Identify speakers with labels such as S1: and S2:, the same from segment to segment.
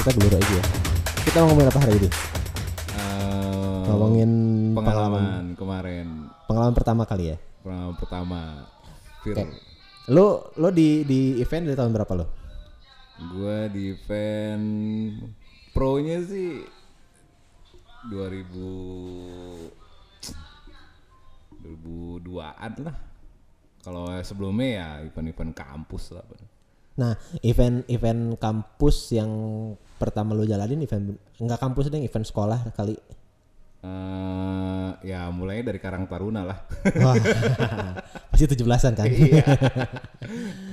S1: kita gelur aja ya. Kita mau ngomongin apa hari ini?
S2: Eh,
S1: Ngomongin
S2: pengalaman kemarin
S1: Pengalaman pertama kali ya.
S2: pengalaman pertama Fir
S1: Oke. Lu lu di di event dari tahun berapa lo?
S2: gua di event pro nya sih 2000 2002an lah kalau sebelumnya ya event-event kampus lah
S1: Nah, event event kampus yang pertama lu jalanin event enggak kampus deh, event sekolah kali.
S2: Eh, ya mulainya dari Karang Taruna lah
S1: Wah. Pasti 17-an kan. Iya.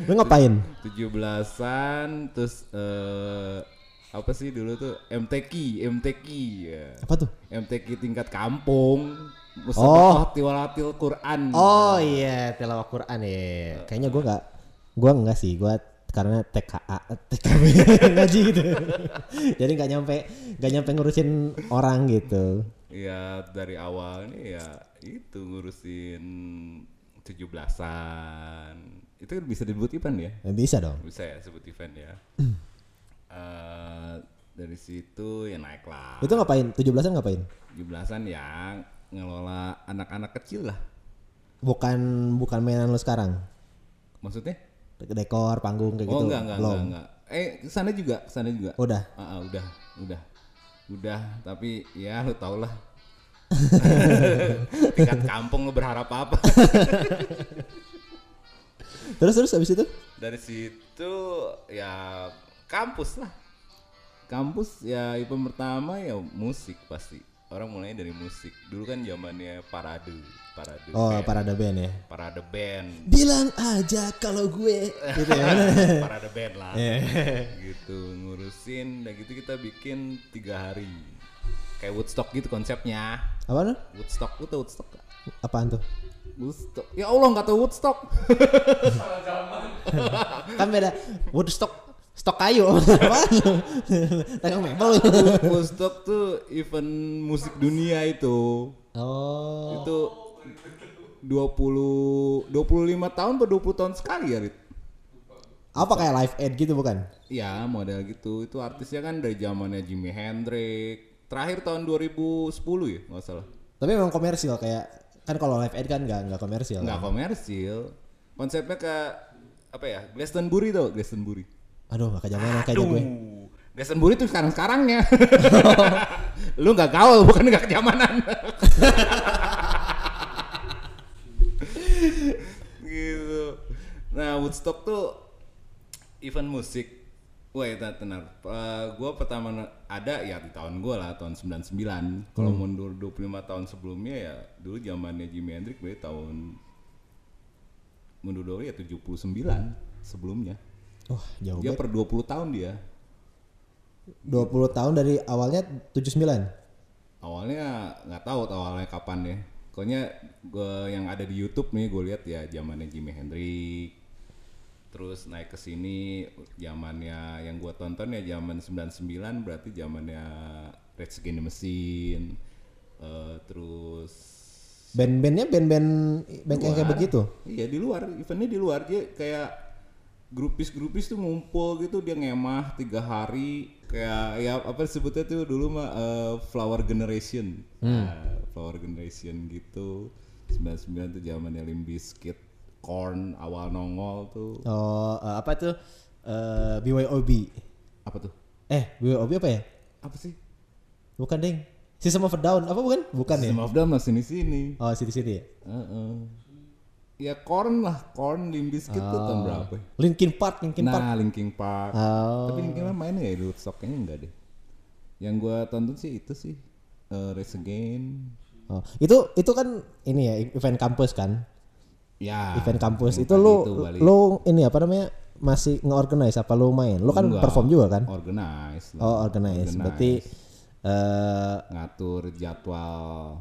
S1: lu ngapain?
S2: 17-an terus eh apa sih dulu tuh MTQ MTQ ya.
S1: Apa tuh?
S2: MTQ tingkat kampung
S1: Oh.
S2: Musabaqah Tiwalatil Quran
S1: Oh iya, tilawah Quran ya. Kayaknya gua nggak, gua enggak sih, gua karena TKA, TKB ngaji gitu. Jadi nggak nyampe, nggak nyampe ngurusin orang gitu.
S2: ya dari awal nih ya itu ngurusin 17-an itu kan bisa disebut event ya
S1: Eh, Bisa dong.
S2: bisa ya sebut event ya Eh, dari situ ya naik lah
S1: Itu ngapain? 17-an ngapain?
S2: 17-an ya ngelola anak-anak kecil lah
S1: Bukan bukan mainan lu sekarang.
S2: maksudnya
S1: Dekor, panggung kayak
S2: oh
S1: gitu.
S2: enggak enggak
S1: Belum.
S2: enggak enggak eh sana juga sana juga
S1: Udah.
S2: Ah, ah, udah udah udah tapi ya lu tau lah tingkat kampung lu berharap apa
S1: Terus terus habis itu?
S2: dari situ ya kampus lah kampus ya event pertama ya musik pasti orang mulai dari musik dulu kan zamannya parade parade
S1: Oh,
S2: band,
S1: parade band ya.
S2: parade band
S1: Bilang aja kalau gue gitu ya.
S2: parade band lah gitu ngurusin dan gitu kita bikin tiga hari kayak Woodstock gitu konsepnya
S1: Apaan? lu?
S2: Woodstock lu tau Woodstock gak?
S1: Apaan tuh?
S2: Woodstock ya Allah nggak tau Woodstock
S1: Kan beda Woodstock stok kayu. Apaan lu? Tangkap mebel. lu.
S2: Woodstock tuh event musik dunia itu
S1: Oh.
S2: itu 20 25 tahun atau 20 tahun sekali ya Rit?
S1: Apa kayak live aid gitu bukan?
S2: Ya model gitu itu artisnya kan dari zamannya Jimi Hendrix terakhir tahun 2010 ya nggak salah
S1: Tapi memang komersil kayak kan kalau live aid kan nggak nggak komersil.
S2: nggak komersil konsepnya ke apa ya Glastonbury tau Glastonbury
S1: Aduh, nggak kejamanan kayaknya gue.
S2: Tuh, Glastonbury tuh sekarang sekarangnya lu nggak gaul bukan nggak kenyamanan gitu nah Woodstock tuh event musik Wah, itu tenar. gue pertama na- ada ya di tahun gue lah, tahun 99. Kalau mundur 25 tahun sebelumnya ya, dulu zamannya Jimi Hendrix berarti tahun mundur dulu ya 79 sebelumnya.
S1: Wah, Oh, jauh
S2: Dia
S1: banget.
S2: per 20 tahun dia.
S1: 20 tahun dari awalnya 79.
S2: awalnya nggak tahu tuh awalnya kapan deh pokoknya gua yang ada di YouTube nih gue lihat ya zamannya Jimi Hendrix terus naik ke sini zamannya yang gua tonton ya zaman 99 berarti zamannya Red Skin the Machine Eh, terus
S1: Band-bandnya band-band band yang kayak
S2: luar.
S1: begitu.
S2: iya di luar eventnya di luar dia kayak grupis-grupis tuh ngumpul gitu dia ngemah tiga hari kayak ya apa sebutnya tuh dulu mah eh, flower generation
S1: Hmm.
S2: Nah, flower generation gitu 99 tuh zamannya Limp Bizkit corn awal nongol tuh
S1: Oh, eh, apa tuh? Eh, BYOB.
S2: apa tuh
S1: Eh, BYOB apa ya?
S2: apa sih
S1: Bukan, Ding. System of a Down apa bukan? Bukan ya?
S2: System of Down masih di sini
S1: Oh, sini-sini ya.
S2: Heeh. ya corn lah corn Limp Bizkit tuh tahun berapa ya?
S1: Linkin Park, Oh. Linkin Park.
S2: nah Linkin Park
S1: Oh.
S2: Tapi Linkin Park mainnya ya di Woodstock kayaknya enggak deh. Yang gua tonton sih itu sih eh, Race Again.
S1: Oh, itu itu kan ini ya event kampus kan?
S2: Ya.
S1: event kampus
S2: yang
S1: itu
S2: tadi
S1: lu
S2: balik.
S1: lu ini apa namanya masih nge-organize apa lu main? Lu kan
S2: Enggak.
S1: perform juga kan?
S2: organize lah.
S1: Oh, organize. Berarti eh
S2: ngatur jadwal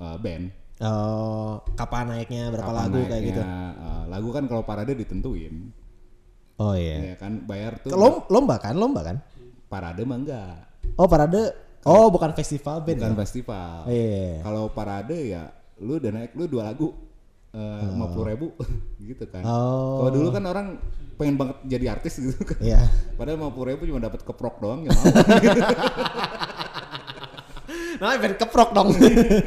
S2: eh, band.
S1: eh, kapan naiknya, berapa
S2: Kapan
S1: lagu kayak
S2: naiknya,
S1: gitu.
S2: eh, lagu kan kalau parade ditentuin.
S1: Oh iya.
S2: Ya kan bayar tuh
S1: Lom- lomba kan, lomba kan?
S2: parade mah enggak.
S1: Oh, parade. Oh, bukan
S2: Iya.
S1: festival band.
S2: Bukan
S1: ya?
S2: festival.
S1: Iya.
S2: Kalau parade ya lu udah naik lu dua lagu. lima puluh ribu gitu kan.
S1: Oh.
S2: Kalau dulu kan orang pengen banget jadi artis gitu kan.
S1: Iya.
S2: Padahal lima puluh ribu cuma dapat keprok doang ya mau.
S1: Nah, pengen keprok dong.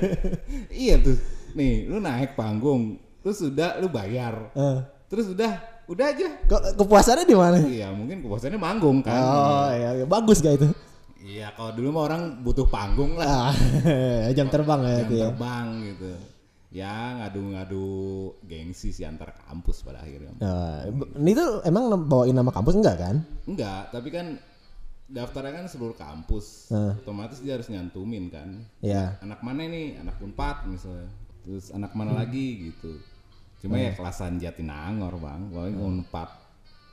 S2: iya tuh. Nih lu naik panggung, terus sudah lu bayar,
S1: Eh,
S2: terus udah udah aja.
S1: Kok kepuasannya di mana?
S2: Iya mungkin kepuasannya manggung kan.
S1: Oh, iya, iya. bagus gak itu?
S2: Iya kalau dulu mah orang butuh panggung lah.
S1: Ah, jam terbang ya
S2: jam
S1: itu ya.
S2: terbang gitu ya ngadu-ngadu gengsi sih antar kampus pada akhirnya
S1: Nah, b- ini tuh emang nem- bawain nama kampus enggak kan?
S2: enggak tapi kan daftarnya kan seluruh kampus
S1: Heeh.
S2: otomatis dia harus nyantumin kan
S1: Iya.
S2: anak mana nih anak unpad misalnya terus anak mana
S1: Hmm.
S2: lagi gitu cuma ya kelasan Jatinangor bang pokoknya
S1: Hmm.
S2: unpad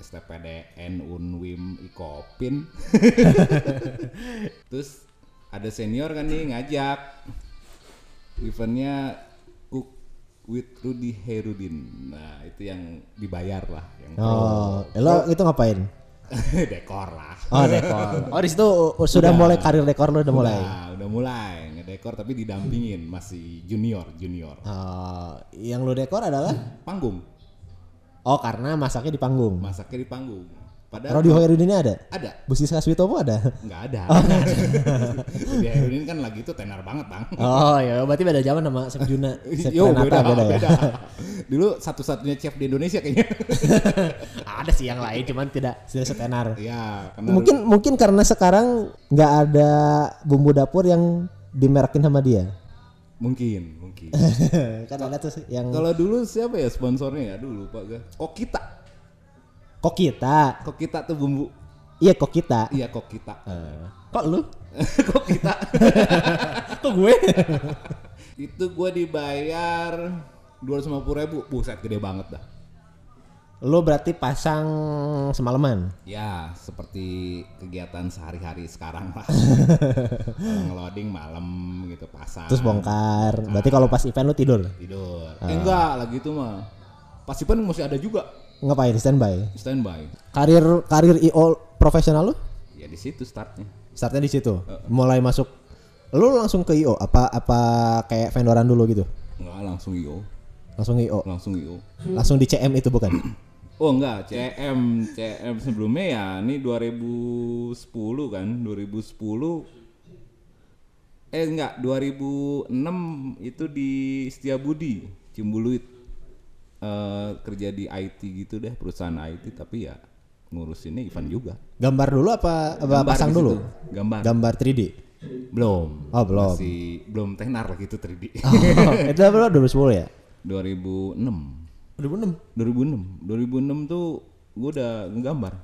S2: STPDN Unwim Ikopin terus ada senior kan nih ngajak eventnya Cook with Rudy Herudin nah itu yang dibayar lah yang pro.
S1: Oh, lo itu ngapain?
S2: dekor lah
S1: Oh, dekor. Oh, di situ u- sudah mulai karir dekor lo udah Oh, mulai.
S2: Nah, udah mulai ngedekor tapi didampingin masih junior junior
S1: Oh, yang lo dekor adalah
S2: panggung
S1: Oh, karena Hmm. masaknya di panggung.
S2: masaknya di panggung padahal
S1: Rodi Oh. Hoirudinnya ada?
S2: ada
S1: Bu Siska Switomo ada?
S2: nggak ada Di Herudin kan lagi itu tenar banget bang
S1: Oh ya, berarti beda zaman sama Sep Juna. Sep
S2: Yo,
S1: Renata beda, ya.
S2: dulu satu-satunya chef di Indonesia kayaknya
S1: ada sih yang lain, cuman tidak Iya, tidak setenar.
S2: ya karena
S1: Mungkin mungkin karena sekarang nggak ada bumbu dapur yang dimerkin sama dia.
S2: mungkin mungkin
S1: kan ada tuh yang
S2: kalau dulu siapa ya sponsornya ya dulu pak gak kok kita
S1: kok kita,
S2: kok kita tuh bumbu
S1: iya kok kita.
S2: iya kok kita
S1: Eh, Kok lu?
S2: kok kita
S1: Kok gue?
S2: itu gue dibayar dua ratus ribu buset gede banget dah
S1: lu berarti pasang semalaman.
S2: ya seperti kegiatan sehari-hari sekarang lah ngeloading malam gitu pasang
S1: Terus bongkar. Berarti kalau pas event lu tidur.
S2: tidur eh, enggak lagi itu mah pasti pun masih ada juga
S1: Ngapain standby?
S2: standby
S1: Karir karir IO profesional lu? Ah.
S2: ya di situ startnya
S1: Startnya di situ. Mulai masuk lu langsung ke IO apa apa kayak vendoran dulu gitu?
S2: enggak langsung io
S1: Langsung IO.
S2: langsung io
S1: Langsung di CM itu bukan?
S2: oh enggak cm cm sebelumnya ya ini 2010 kan 2010 eh enggak 2006 itu di Setiabudi Cimbuluit Eh, kerja di IT gitu deh perusahaan IT tapi ya ngurusinnya Ivan juga
S1: Gambar dulu apa, apa
S2: Gambar
S1: pasang
S2: di situ.
S1: dulu?
S2: gambar
S1: Gambar 3D.
S2: belum
S1: Oh, belum.
S2: masih belum tenar lah gitu 3D
S1: Oh, itu berapa 2010 ya?
S2: 2006
S1: 2006.
S2: 2006 2006 tuh gue udah ngegambar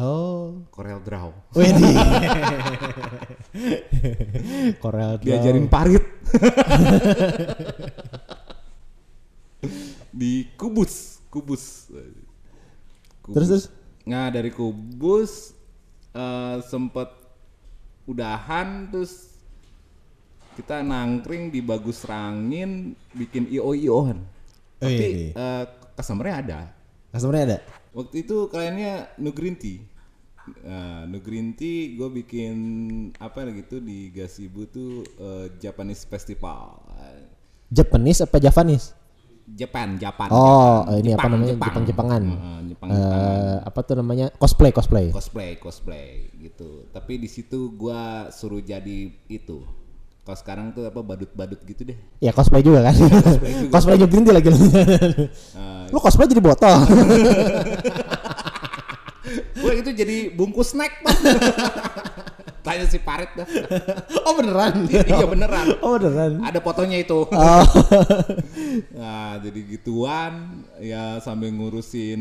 S1: Oh.
S2: Corel Draw
S1: Wedi. Corel Draw.
S2: diajarin parit di kubus kubus Kubus.
S1: Terus terus
S2: nah dari kubus eh, sempet udahan terus kita nangkring di bagus rangin bikin io ioan
S1: Wih.
S2: tapi eh, customernya ada
S1: customernya Nah, ada?
S2: waktu itu kliennya no green tea Nah, no green tea gue bikin apa gitu di Gasibu tuh eh, Japanese festival Eh,
S1: Japanese apa Javanese?
S2: Japan Japan
S1: Oh,
S2: Japan.
S1: ini apa
S2: Jepang,
S1: namanya?
S2: Jepang.
S1: Jepang-Jepangan.
S2: Heeh, Jepang
S1: Eh, iya.
S2: Jepangan.
S1: apa tuh namanya? Cosplay, cosplay.
S2: cosplay cosplay gitu tapi di situ gua suruh jadi itu kalau sekarang tuh apa badut-badut gitu deh
S1: ya cosplay juga kan. cosplay juga Nah, Green Tea lagi lu. lu cosplay jadi botol.
S2: gue itu jadi bungkus snack Bang. tanya si Parit dah
S1: oh beneran.
S2: iya beneran
S1: Oh beneran.
S2: ada fotonya itu nah jadi gituan ya sambil ngurusin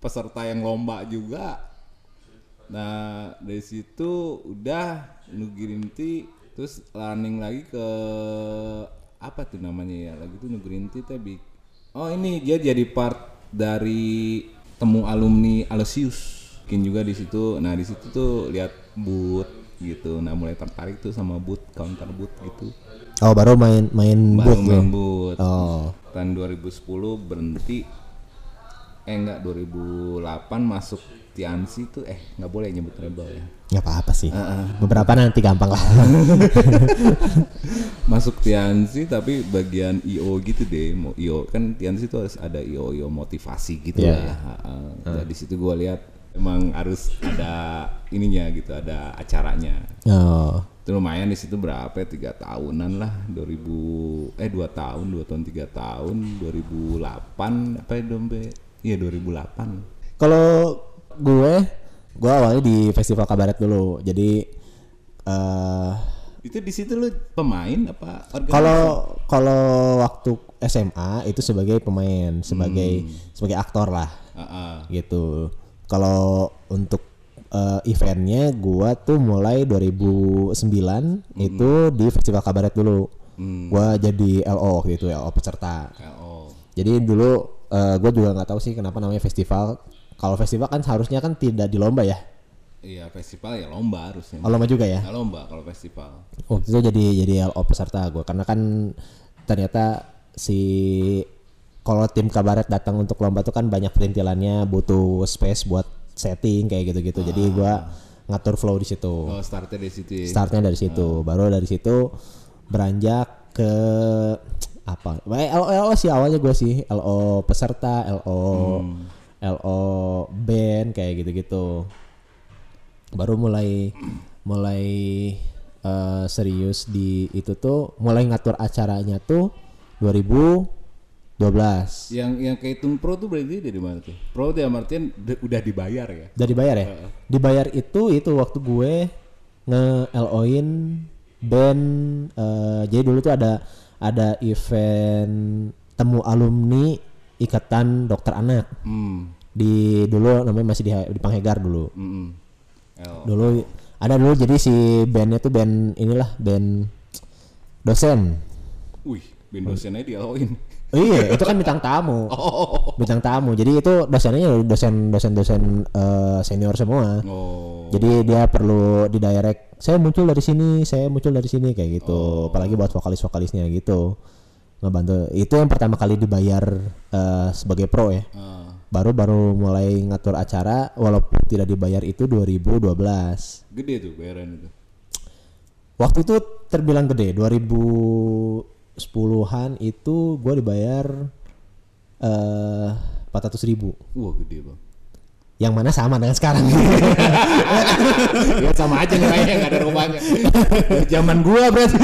S2: peserta yang lomba juga nah dari situ udah nugirinti terus running lagi ke apa tuh namanya ya lagi tuh nugirinti tapi oh ini dia jadi part dari temu alumni Alesius mungkin juga di situ nah di situ tuh lihat boot gitu nah mulai tertarik tuh sama boot counter boot gitu
S1: Oh baru main main
S2: baru
S1: booth
S2: main
S1: lu.
S2: boot
S1: Oh.
S2: tahun 2010 berhenti eh enggak 2008 masuk Tiansi tuh eh nggak boleh nyebut rebel ya.
S1: nggak apa-apa sih beberapa nanti gampang lah
S2: Masuk Tiansi tapi bagian IO gitu deh. Mau IO kan Tiansi tuh harus ada IO IO motivasi gitu
S1: Iya.
S2: lah ya. Heeh. Nah, Di situ gua lihat emang harus ada ininya gitu, ada acaranya.
S1: oh
S2: Itu lumayan di situ berapa ya? Tiga tahunan lah, 2000 eh dua tahun, dua tahun tiga tahun, 2008 apa ya dombe? Iya 2008.
S1: Kalau gue, gue awalnya di Festival Kabaret dulu. Jadi eh
S2: Itu di situ lu pemain apa organisasi?
S1: kalau kalau waktu SMA itu sebagai pemain, sebagai sebagai aktor lah
S2: Heeh.
S1: gitu. Kalau untuk eh, eventnya gue tuh mulai 2009 itu di Festival Kabaret dulu. Gue jadi LO waktu itu LO peserta.
S2: LO.
S1: Jadi dulu gue juga nggak tahu sih kenapa namanya festival. Kalau festival kan seharusnya kan tidak di lomba ya.
S2: Iya festival ya lomba harusnya.
S1: Oh, lomba juga ya.
S2: Nggak lomba kalau festival.
S1: Waktu itu jadi jadi LO peserta gue karena kan ternyata si kalau tim kabaret datang untuk lomba tuh kan banyak perintilannya butuh space buat setting kayak gitu-gitu. Jadi gue ngatur flow di situ.
S2: Kalau startnya di situ ya.
S1: Startnya dari situ, baru dari situ beranjak ke apa? Baik, LO, LO sih awalnya gue sih LO peserta, LO LO band kayak gitu-gitu. Baru mulai mulai eh, serius di itu tuh mulai ngatur acaranya tuh 2012.
S2: Yang yang kehitung pro tuh berarti dari mana tuh? Pro tuh yang artian d- udah dibayar ya.
S1: Dari bayar ya? Dibayar itu itu waktu gue nge-LO-in band eh, jadi dulu tuh ada ada event temu alumni Ikatan Dokter Anak
S2: Hmm.
S1: di dulu namanya masih di, di Panghegar dulu.
S2: Mm-mm. L.
S1: Dulu ada dulu jadi si bandnya tuh band inilah band dosen.
S2: Wih, Windowsnya di LO-in.
S1: Oh iya, itu kan bintang tamu. Bintang tamu. Jadi itu dosennya ya dosen dosen dosen eh, senior semua.
S2: Oh.
S1: Jadi dia perlu didirect. Saya muncul dari sini, saya muncul dari sini kayak gitu. Apalagi buat vokalis-vokalisnya gitu. Ngebantu. Itu yang pertama kali dibayar eh, sebagai pro ya.
S2: Ah.
S1: Baru baru mulai ngatur acara walaupun tidak dibayar itu 2012.
S2: gede tuh bayaran itu.
S1: Waktu itu terbilang gede. 2010-an itu gua dibayar eh 400 ribu
S2: Wah, gede, Bang.
S1: yang mana sama dengan sekarang
S2: ya sama aja nilainya enggak ada rumahnya.
S1: zaman gua berarti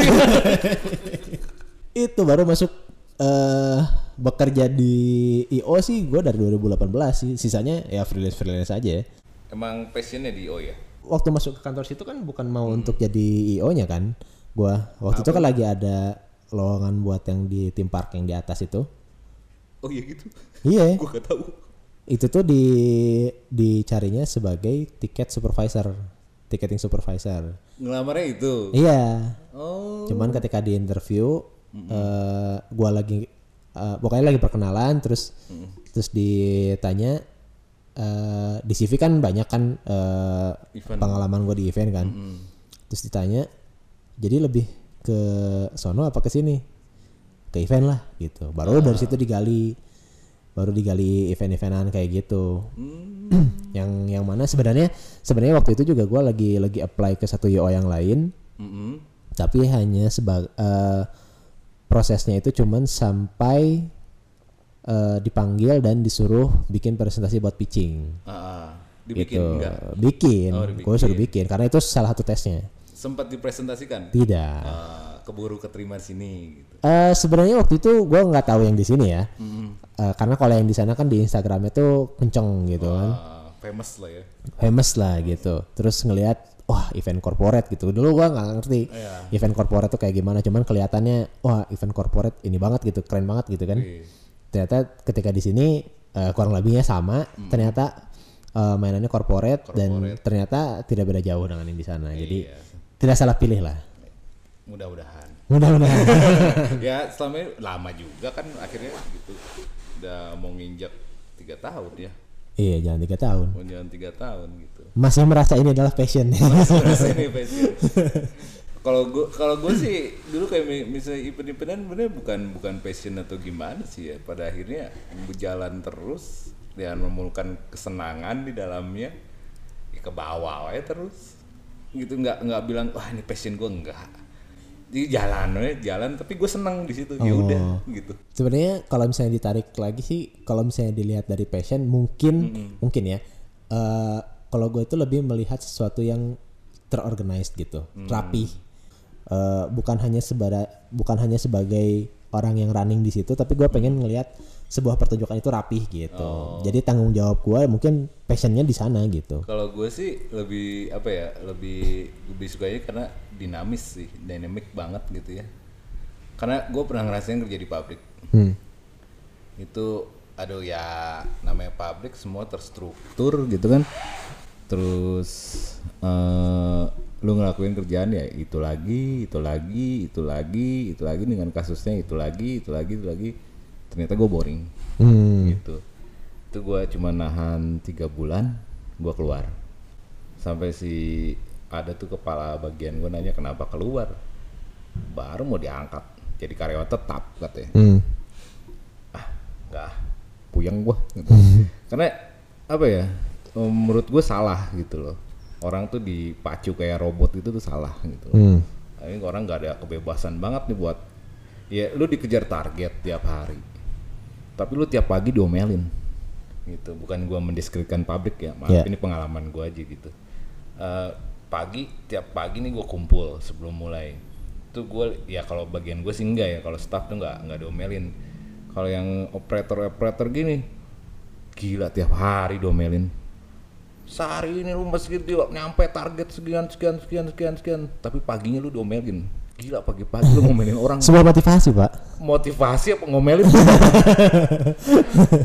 S1: itu baru masuk eh bekerja di IO sih gua dari 2018 sih sisanya ya freelance freelance aja ya.
S2: Emang passionnya di IO ya?
S1: waktu masuk ke kantor situ kan bukan mau untuk jadi IO nya kan gua waktu itu kan lagi ada lowongan buat yang di tim park yang di atas itu
S2: Oh iya gitu.
S1: iya
S2: Gua gak tahu.
S1: itu tuh di dicarinya sebagai tiket supervisor ticketing supervisor
S2: Ngelamarnya itu.
S1: iya
S2: Oh.
S1: Cuman ketika di interview eh, gua lagi eh, pokoknya lagi perkenalan terus terus ditanya eh, di CV kan banyak kan eh,
S2: Event.
S1: pengalaman gue di event kan. Terus ditanya jadi lebih ke sono apa ke sini? Ke event lah gitu. Baru dari situ digali baru digali event-eventan kayak gitu. yang yang mana sebenarnya sebenarnya waktu itu juga gua lagi lagi apply ke satu IO yang lain
S2: Mm-mm.
S1: tapi hanya sebagai prosesnya itu cuman sampai eh, dipanggil dan disuruh bikin presentasi buat pitching
S2: Ah, ah. dibikin
S1: gitu
S2: enggak?
S1: bikin
S2: Oh,
S1: gue suruh bikin karena itu salah satu tesnya
S2: Sempat dipresentasikan?
S1: tidak
S2: Ah, keburu keterima sini gitu.
S1: Eh, sebenarnya waktu itu gue nggak tahu yang di sini ya Eh, karena kalau yang di sana kan di Instagramnya tuh kenceng gitu kan
S2: Ah, famous lah ya.
S1: famous lah gitu terus ngelihat wah event corporate gitu dulu gua nggak ngerti
S2: Iya.
S1: event corporate tuh kayak gimana cuman kelihatannya wah event corporate ini banget gitu keren banget gitu kan
S2: Iya.
S1: ternyata ketika di sini eh, kurang lebihnya sama
S2: Hmm.
S1: ternyata eh, mainannya corporate, dan ternyata tidak beda jauh dengan yang di sana jadi
S2: Iya.
S1: tidak salah pilih lah
S2: Mudah-mudahan.
S1: mudah-mudahan
S2: ya selama ini lama juga kan akhirnya gitu. Udah mau nginjak tiga tahun ya.
S1: iya jangan tiga tahun
S2: Mau jalan tiga tahun gitu.
S1: masih merasa ini adalah passion
S2: Terus ini passion. Kalau gua kalau gua sih dulu kayak mi- misalnya event-eventan bener bukan bukan passion atau gimana sih ya. Pada akhirnya berjalan terus dan memerlukan kesenangan di dalamnya ya ke bawah ya terus gitu nggak nggak bilang wah ini passion gue enggak jadi jalan we, jalan tapi gue seneng di situ ya udah gitu
S1: Sebenarnya kalau misalnya ditarik lagi sih, kalau misalnya dilihat dari passion, mungkin mungkin ya. eh, kalau gue itu lebih melihat sesuatu yang terorganized gitu, rapi. Eh, bukan hanya sebara, bukan hanya sebagai orang yang running di situ, tapi gue pengen ngelihat sebuah pertunjukan itu rapih gitu. Jadi tanggung jawab gue mungkin passionnya di sana gitu.
S2: Kalau gue sih lebih apa ya lebih lebih sukanya karena dinamis sih, dynamic banget gitu ya. Karena gue pernah ngerasain kerja di pabrik.
S1: Hmm.
S2: Itu aduh ya namanya pabrik semua terstruktur gitu kan. Terus eh lu ngelakuin kerjaan ya itu lagi, itu lagi, itu lagi, itu lagi dengan kasusnya itu lagi, itu lagi, itu lagi. Ternyata gue boring
S1: Hmm.
S2: gitu itu gua cuma nahan tiga bulan gua keluar sampai si ada tuh kepala bagian gua nanya kenapa keluar baru mau diangkat jadi karyawan tetap katanya
S1: Hmm.
S2: ah nggak puyeng gua gitu. karena apa ya em, menurut gue salah gitu loh orang tuh dipacu kayak robot itu tuh salah gitu loh
S1: Hmm.
S2: ini orang nggak ada kebebasan banget nih buat ya lu dikejar target tiap hari tapi lu tiap pagi diomelin gitu bukan gua mendiskreditkan pabrik ya maaf
S1: Iya.
S2: ini pengalaman gua aja gitu Eh, pagi tiap pagi nih gua kumpul sebelum mulai itu gua ya kalau bagian gue sih enggak ya kalau staff tuh nggak nggak diomelin kalau yang operator operator gini gila tiap hari diomelin sehari ini lu masih gitu nyampe target sekian sekian sekian sekian sekian tapi paginya lu diomelin gila pagi-pagi lu ngomelin orang
S1: Sebuah motivasi pak.
S2: motivasi apa ngomelin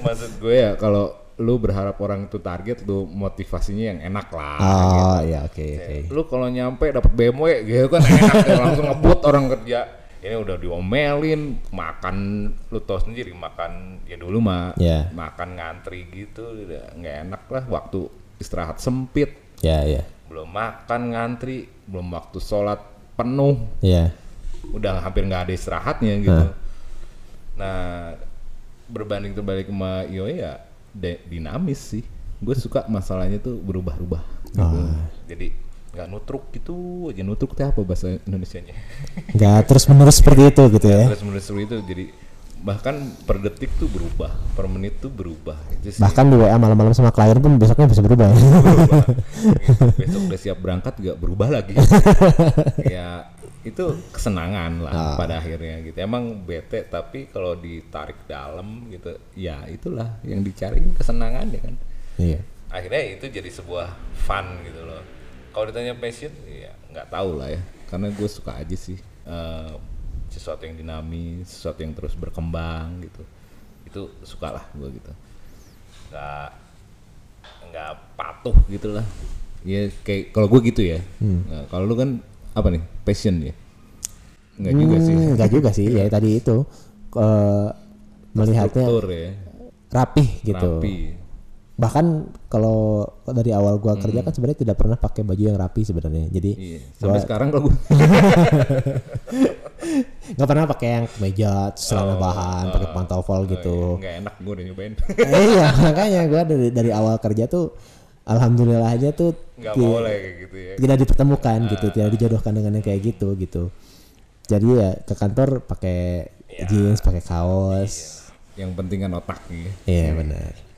S2: maksud gue ya kalau lu berharap orang itu target lu motivasinya yang enak lah
S1: Oh iya oke oke.
S2: lu kalau nyampe dapat BMW gitu kan enak ya, langsung ngebut orang kerja ini udah diomelin makan lu tau sendiri makan ya dulu mah
S1: Iya.
S2: makan ngantri gitu udah nggak enak lah waktu istirahat sempit
S1: Ya ya
S2: belum makan ngantri belum waktu sholat penuh
S1: ya.
S2: udah hampir nggak ada istirahatnya gitu. Nah, berbanding terbalik sama Io ya de- dinamis sih. Gue suka masalahnya tuh berubah-ubah gitu. Jadi nggak nutruk gitu aja nutruk teh apa bahasa Indonesianya?
S1: Gak terus menerus seperti itu gitu ya.
S2: Terus menerus seperti itu jadi bahkan per detik tuh berubah, per menit tuh berubah. Itu sih
S1: Bahkan di WA malam-malam sama klien pun besoknya bisa berubah.
S2: berubah. Gitu. Besok udah siap berangkat nggak berubah lagi. ya itu kesenangan lah pada akhirnya gitu. Emang bete tapi kalau ditarik dalam gitu, ya itulah yang dicari kesenangan ya kan.
S1: iya.
S2: Akhirnya itu jadi sebuah fun gitu loh. Kalau ditanya passion, ya nggak tahu lah ya. Karena gue suka aja sih eh, sesuatu yang dinamis, sesuatu yang terus berkembang gitu. Itu suka lah gue gitu. Nggak nggak patuh gitu lah ya kayak kalau gue gitu ya
S1: Hmm.
S2: Nah, kalau lu kan apa nih passion ya nggak juga sih
S1: Hmm, nggak juga sih. Ya tadi itu eh, melihatnya
S2: struktur ya
S1: rapih gitu.
S2: rapi
S1: Bahkan kalau dari awal gua kerja kan sebenarnya tidak pernah pakai baju yang rapi sebenarnya. Jadi
S2: iya. sampai
S1: gua
S2: sekarang kalau gue
S1: nggak pernah pakai yang kemeja, terus celana bahan, pakai pantofel gitu.
S2: nggak enak gue udah nyobain
S1: Eh, iya makanya gua dari dari awal kerja tuh alhamdulillah aja tuh
S2: nggak
S1: ti-
S2: boleh kayak gitu ya
S1: tidak dipertemukan gitu tidak dijodohkan dengan yang kayak gitu gitu jadi ya ke kantor pakai jeans pakai kaos
S2: yang penting kan otaknya
S1: iya benar